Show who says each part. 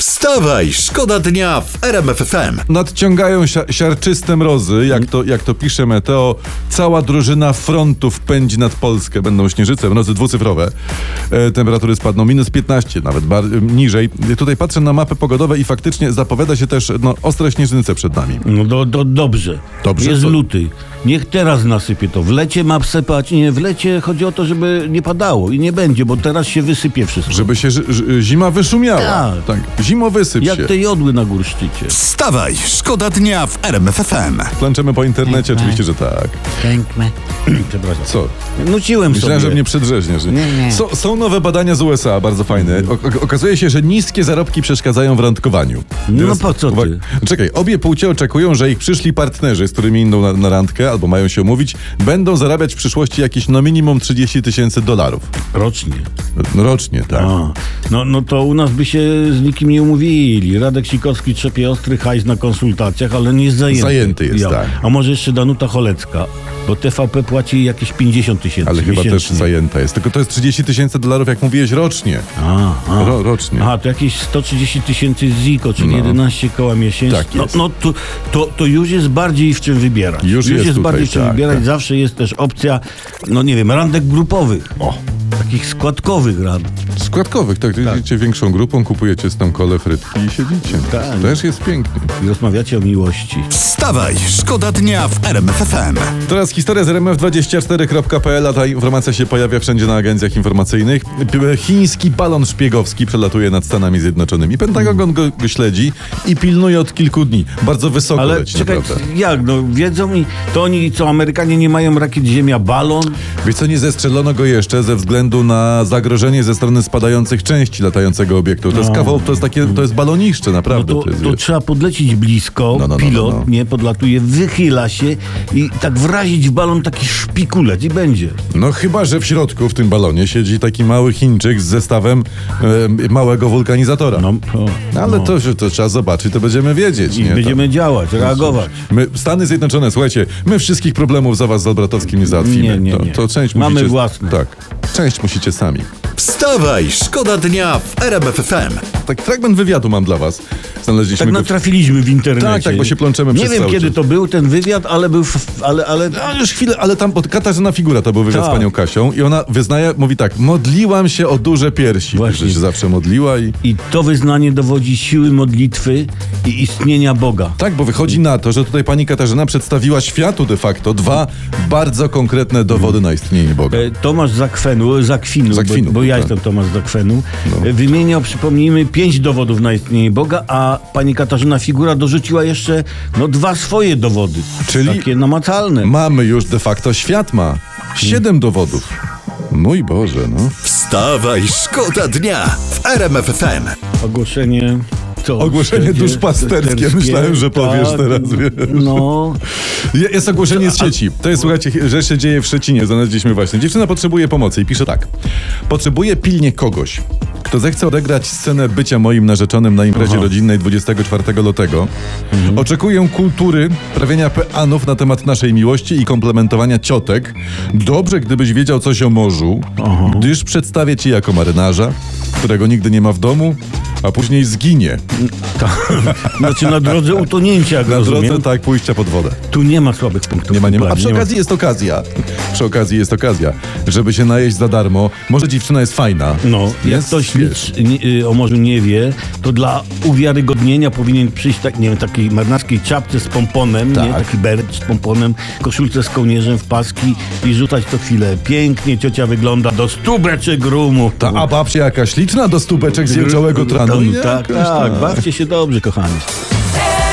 Speaker 1: Wstawaj, szkoda dnia w RMFFM.
Speaker 2: Nadciągają sia- siarczyste mrozy, jak to, jak to pisze Meteo. Cała drużyna frontów pędzi nad Polskę. Będą śnieżyce, mrozy dwucyfrowe. E, temperatury spadną minus 15, nawet bar- e, niżej. Tutaj patrzę na mapy pogodowe i faktycznie zapowiada się też no, ostre śnieżnice przed nami.
Speaker 3: No do, do, dobrze.
Speaker 2: Dobrze,
Speaker 3: Jest
Speaker 2: co?
Speaker 3: luty. Niech teraz nasypie to. W lecie ma sypać. Nie, w lecie chodzi o to, żeby nie padało i nie będzie, bo teraz się wysypie wszystko.
Speaker 2: Żeby się ży- ży- zima wyszumiała.
Speaker 3: Tak.
Speaker 2: Zimo wysyp się.
Speaker 3: Jak te jodły na górszczycie.
Speaker 1: Wstawaj, szkoda dnia w RMFFM.
Speaker 2: Klęczemy po internecie,
Speaker 4: Tak.
Speaker 2: oczywiście, że tak.
Speaker 4: Piękne.
Speaker 3: Przepraszam.
Speaker 2: Co?
Speaker 3: Nuciłem
Speaker 2: Myślałem, że
Speaker 3: sobie.
Speaker 2: mnie przedrzeźniesz.
Speaker 4: Nie, nie.
Speaker 2: Są, są nowe badania z USA, bardzo fajne. O, o, okazuje się, że niskie zarobki przeszkadzają w randkowaniu.
Speaker 3: No po co ty?
Speaker 2: Czekaj, obie płcie oczekują, że ich przyszli partnerzy, z którymi idą na, na randkę albo mają się umówić, będą zarabiać w przyszłości jakieś no minimum 30 tysięcy dolarów.
Speaker 3: Rocznie.
Speaker 2: Rocznie, tak.
Speaker 3: A, no, no to u nas by się z nikim nie umówili. Radek Sikorski trzepie ostry hajs na konsultacjach, ale nie jest zajęty.
Speaker 2: Zajęty jest, tak.
Speaker 3: A może jeszcze Danuta Cholecka, bo TVP płaci jakieś 50 tysięcy
Speaker 2: Ale chyba
Speaker 3: miesięcznie.
Speaker 2: też zajęta jest. Tylko to jest 30 tysięcy dolarów, jak mówiłeś, rocznie.
Speaker 3: A, a.
Speaker 2: Ro, rocznie.
Speaker 3: Aha, to jakieś 130 tysięcy ziko, czyli 11 koła miesięcznie.
Speaker 2: No. Tak jest.
Speaker 3: No, no to, to, to już jest bardziej w czym wybierać.
Speaker 2: Już jest
Speaker 3: jest
Speaker 2: tutaj,
Speaker 3: bardziej w czym
Speaker 2: tak,
Speaker 3: wybierać.
Speaker 2: tak.
Speaker 3: Zawsze jest też opcja, no nie wiem, randek grupowych.
Speaker 2: O.
Speaker 3: Takich składkowych rand.
Speaker 2: Składkowych, tak. Idziecie większą grupą, kupujecie tam kole, frytki i siedzicie.
Speaker 3: Tak.
Speaker 2: Też jest pięknie.
Speaker 3: I rozmawiacie o miłości.
Speaker 1: Wstawaj, szkoda dnia w RMFFM.
Speaker 2: Teraz historia z rmf24.pl, a ta informacja się pojawia wszędzie na agencjach informacyjnych. P- Chiński balon szpiegowski przelatuje nad Stanami Zjednoczonymi. Pentagon go, go śledzi i pilnuje od kilku dni. Bardzo wysoko
Speaker 3: Ale
Speaker 2: leci,
Speaker 3: czekaj,
Speaker 2: naprawdę.
Speaker 3: jak? No wiedzą i to oni, co Amerykanie nie mają rakiet ziemia balon? No
Speaker 2: Wiesz co, nie zestrzelono go jeszcze ze względu na zagrożenie ze strony spadających części latającego obiektu. To jest kawał, to jest takie, to jest baloniszcze,
Speaker 3: No
Speaker 2: naprawdę.
Speaker 3: to,
Speaker 2: to jest,
Speaker 3: to
Speaker 2: wiesz.
Speaker 3: trzeba podlecić blisko,
Speaker 2: No, no, no,
Speaker 3: pilot
Speaker 2: no, no.
Speaker 3: nie podlatuje, wychyla się i tak wrazić w balon taki szpikulec i będzie.
Speaker 2: No chyba, że w środku w tym balonie siedzi taki mały Chińczyk z zestawem e, małego wulkanizatora.
Speaker 3: No,
Speaker 2: Ale to, że to trzeba zobaczyć, to będziemy wiedzieć.
Speaker 3: I
Speaker 2: nie? tak.
Speaker 3: będziemy działać, reagować. Tak
Speaker 2: To, my, Stany Zjednoczone, słuchajcie, my wszystkich problemów za was z Olbratowskim nie załatwimy.
Speaker 3: Nie, nie, nie.
Speaker 2: To, to część
Speaker 3: Mamy
Speaker 2: musicie,
Speaker 3: własne.
Speaker 2: Tak. Część musicie sami.
Speaker 1: Wstawaj, szkoda dnia w RMFFM.
Speaker 2: Tak, fragment wywiadu mam dla was. Znaleźliśmy
Speaker 3: Tak
Speaker 2: go.
Speaker 3: natrafiliśmy w internecie.
Speaker 2: Tak, tak, bo się plączemy
Speaker 3: Nie
Speaker 2: przez
Speaker 3: wiem,
Speaker 2: cały
Speaker 3: kiedy
Speaker 2: czas.
Speaker 3: to był ten wywiad, ale był... f- Ale, ale...
Speaker 2: A już chwilę, ale tam pod Katarzyna Figura to był wywiad
Speaker 3: Tak.
Speaker 2: z panią Kasią i ona wyznaje, mówi tak, modliłam się o duże piersi.
Speaker 3: Właśnie.
Speaker 2: Że się zawsze modliła i...
Speaker 3: I to wyznanie dowodzi siły modlitwy i istnienia Boga.
Speaker 2: Tak, bo wychodzi na to, że tutaj pani Katarzyna przedstawiła światu de facto dwa bardzo konkretne dowody na istnienie Boga.
Speaker 3: E, Tomasz Zakwenu, Zakwinu,
Speaker 2: Zakwinu,
Speaker 3: bo, bo ja
Speaker 2: tak. No.
Speaker 3: jestem Tomasz Zakwenu, e, wymieniał, przypomnijmy, pięć dowodów na istnienie Boga, a pani Katarzyna Figura dorzuciła jeszcze no, dwa swoje dowody.
Speaker 2: Czyli-
Speaker 3: Takie namacalne.
Speaker 2: Mamy już de facto świat ma siedem dowodów. Mój Boże, no.
Speaker 1: Wstawaj, szkoda dnia w RMFFM.
Speaker 3: Ogłoszenie... Co?
Speaker 2: Ogłoszenie
Speaker 3: Szczerskie-
Speaker 2: duszpasterskie. Myślałem, że powiesz teraz, wiesz.
Speaker 3: Tak, No,
Speaker 2: Je- Jest ogłoszenie z sieci. To jest, słuchajcie, rzecz się dzieje w Szczecinie. Znaleźliśmy właśnie. Dziewczyna potrzebuje pomocy i pisze tak. Potrzebuję pilnie kogoś, kto zechce odegrać scenę bycia moim narzeczonym na imprezie rodzinnej 24 lutego. Oczekuję kultury, prawienia peanów na temat naszej miłości i komplementowania ciotek. Dobrze, gdybyś wiedział coś o morzu, gdyż przedstawię ci jako marynarza, którego nigdy nie ma w domu, a później zginie.
Speaker 3: znaczy na drodze utonięcia, jak
Speaker 2: Na
Speaker 3: rozumiem.
Speaker 2: drodze tak pójścia pod wodę.
Speaker 3: Tu nie ma słabych punktów.
Speaker 2: Nie ma, nie ma. A
Speaker 3: Dokładnie,
Speaker 2: przy okazji jest okazja. Przy okazji jest okazja, żeby się najeść za darmo. Może dziewczyna jest fajna.
Speaker 3: No, jak
Speaker 2: jest,
Speaker 3: ktoś
Speaker 2: wiesz.
Speaker 3: nic nie, y, o morzu nie wie, to dla uwiarygodnienia powinien przyjść tak, nie wiem, takiej marynarskiej czapce z pomponem, nie?
Speaker 2: Tak.
Speaker 3: Taki beret z pomponem, koszulce z kołnierzem w paski i rzucać to chwilę. Pięknie ciocia wygląda do stu beczek rumu.
Speaker 2: Ta Tak, a babcia jakaś liczna do stópeczek z jęczałego tranu. No
Speaker 3: Tak, tak,
Speaker 2: Jakoś
Speaker 3: tak, bawcie się dobrze, kochani.
Speaker 5: RMFFM.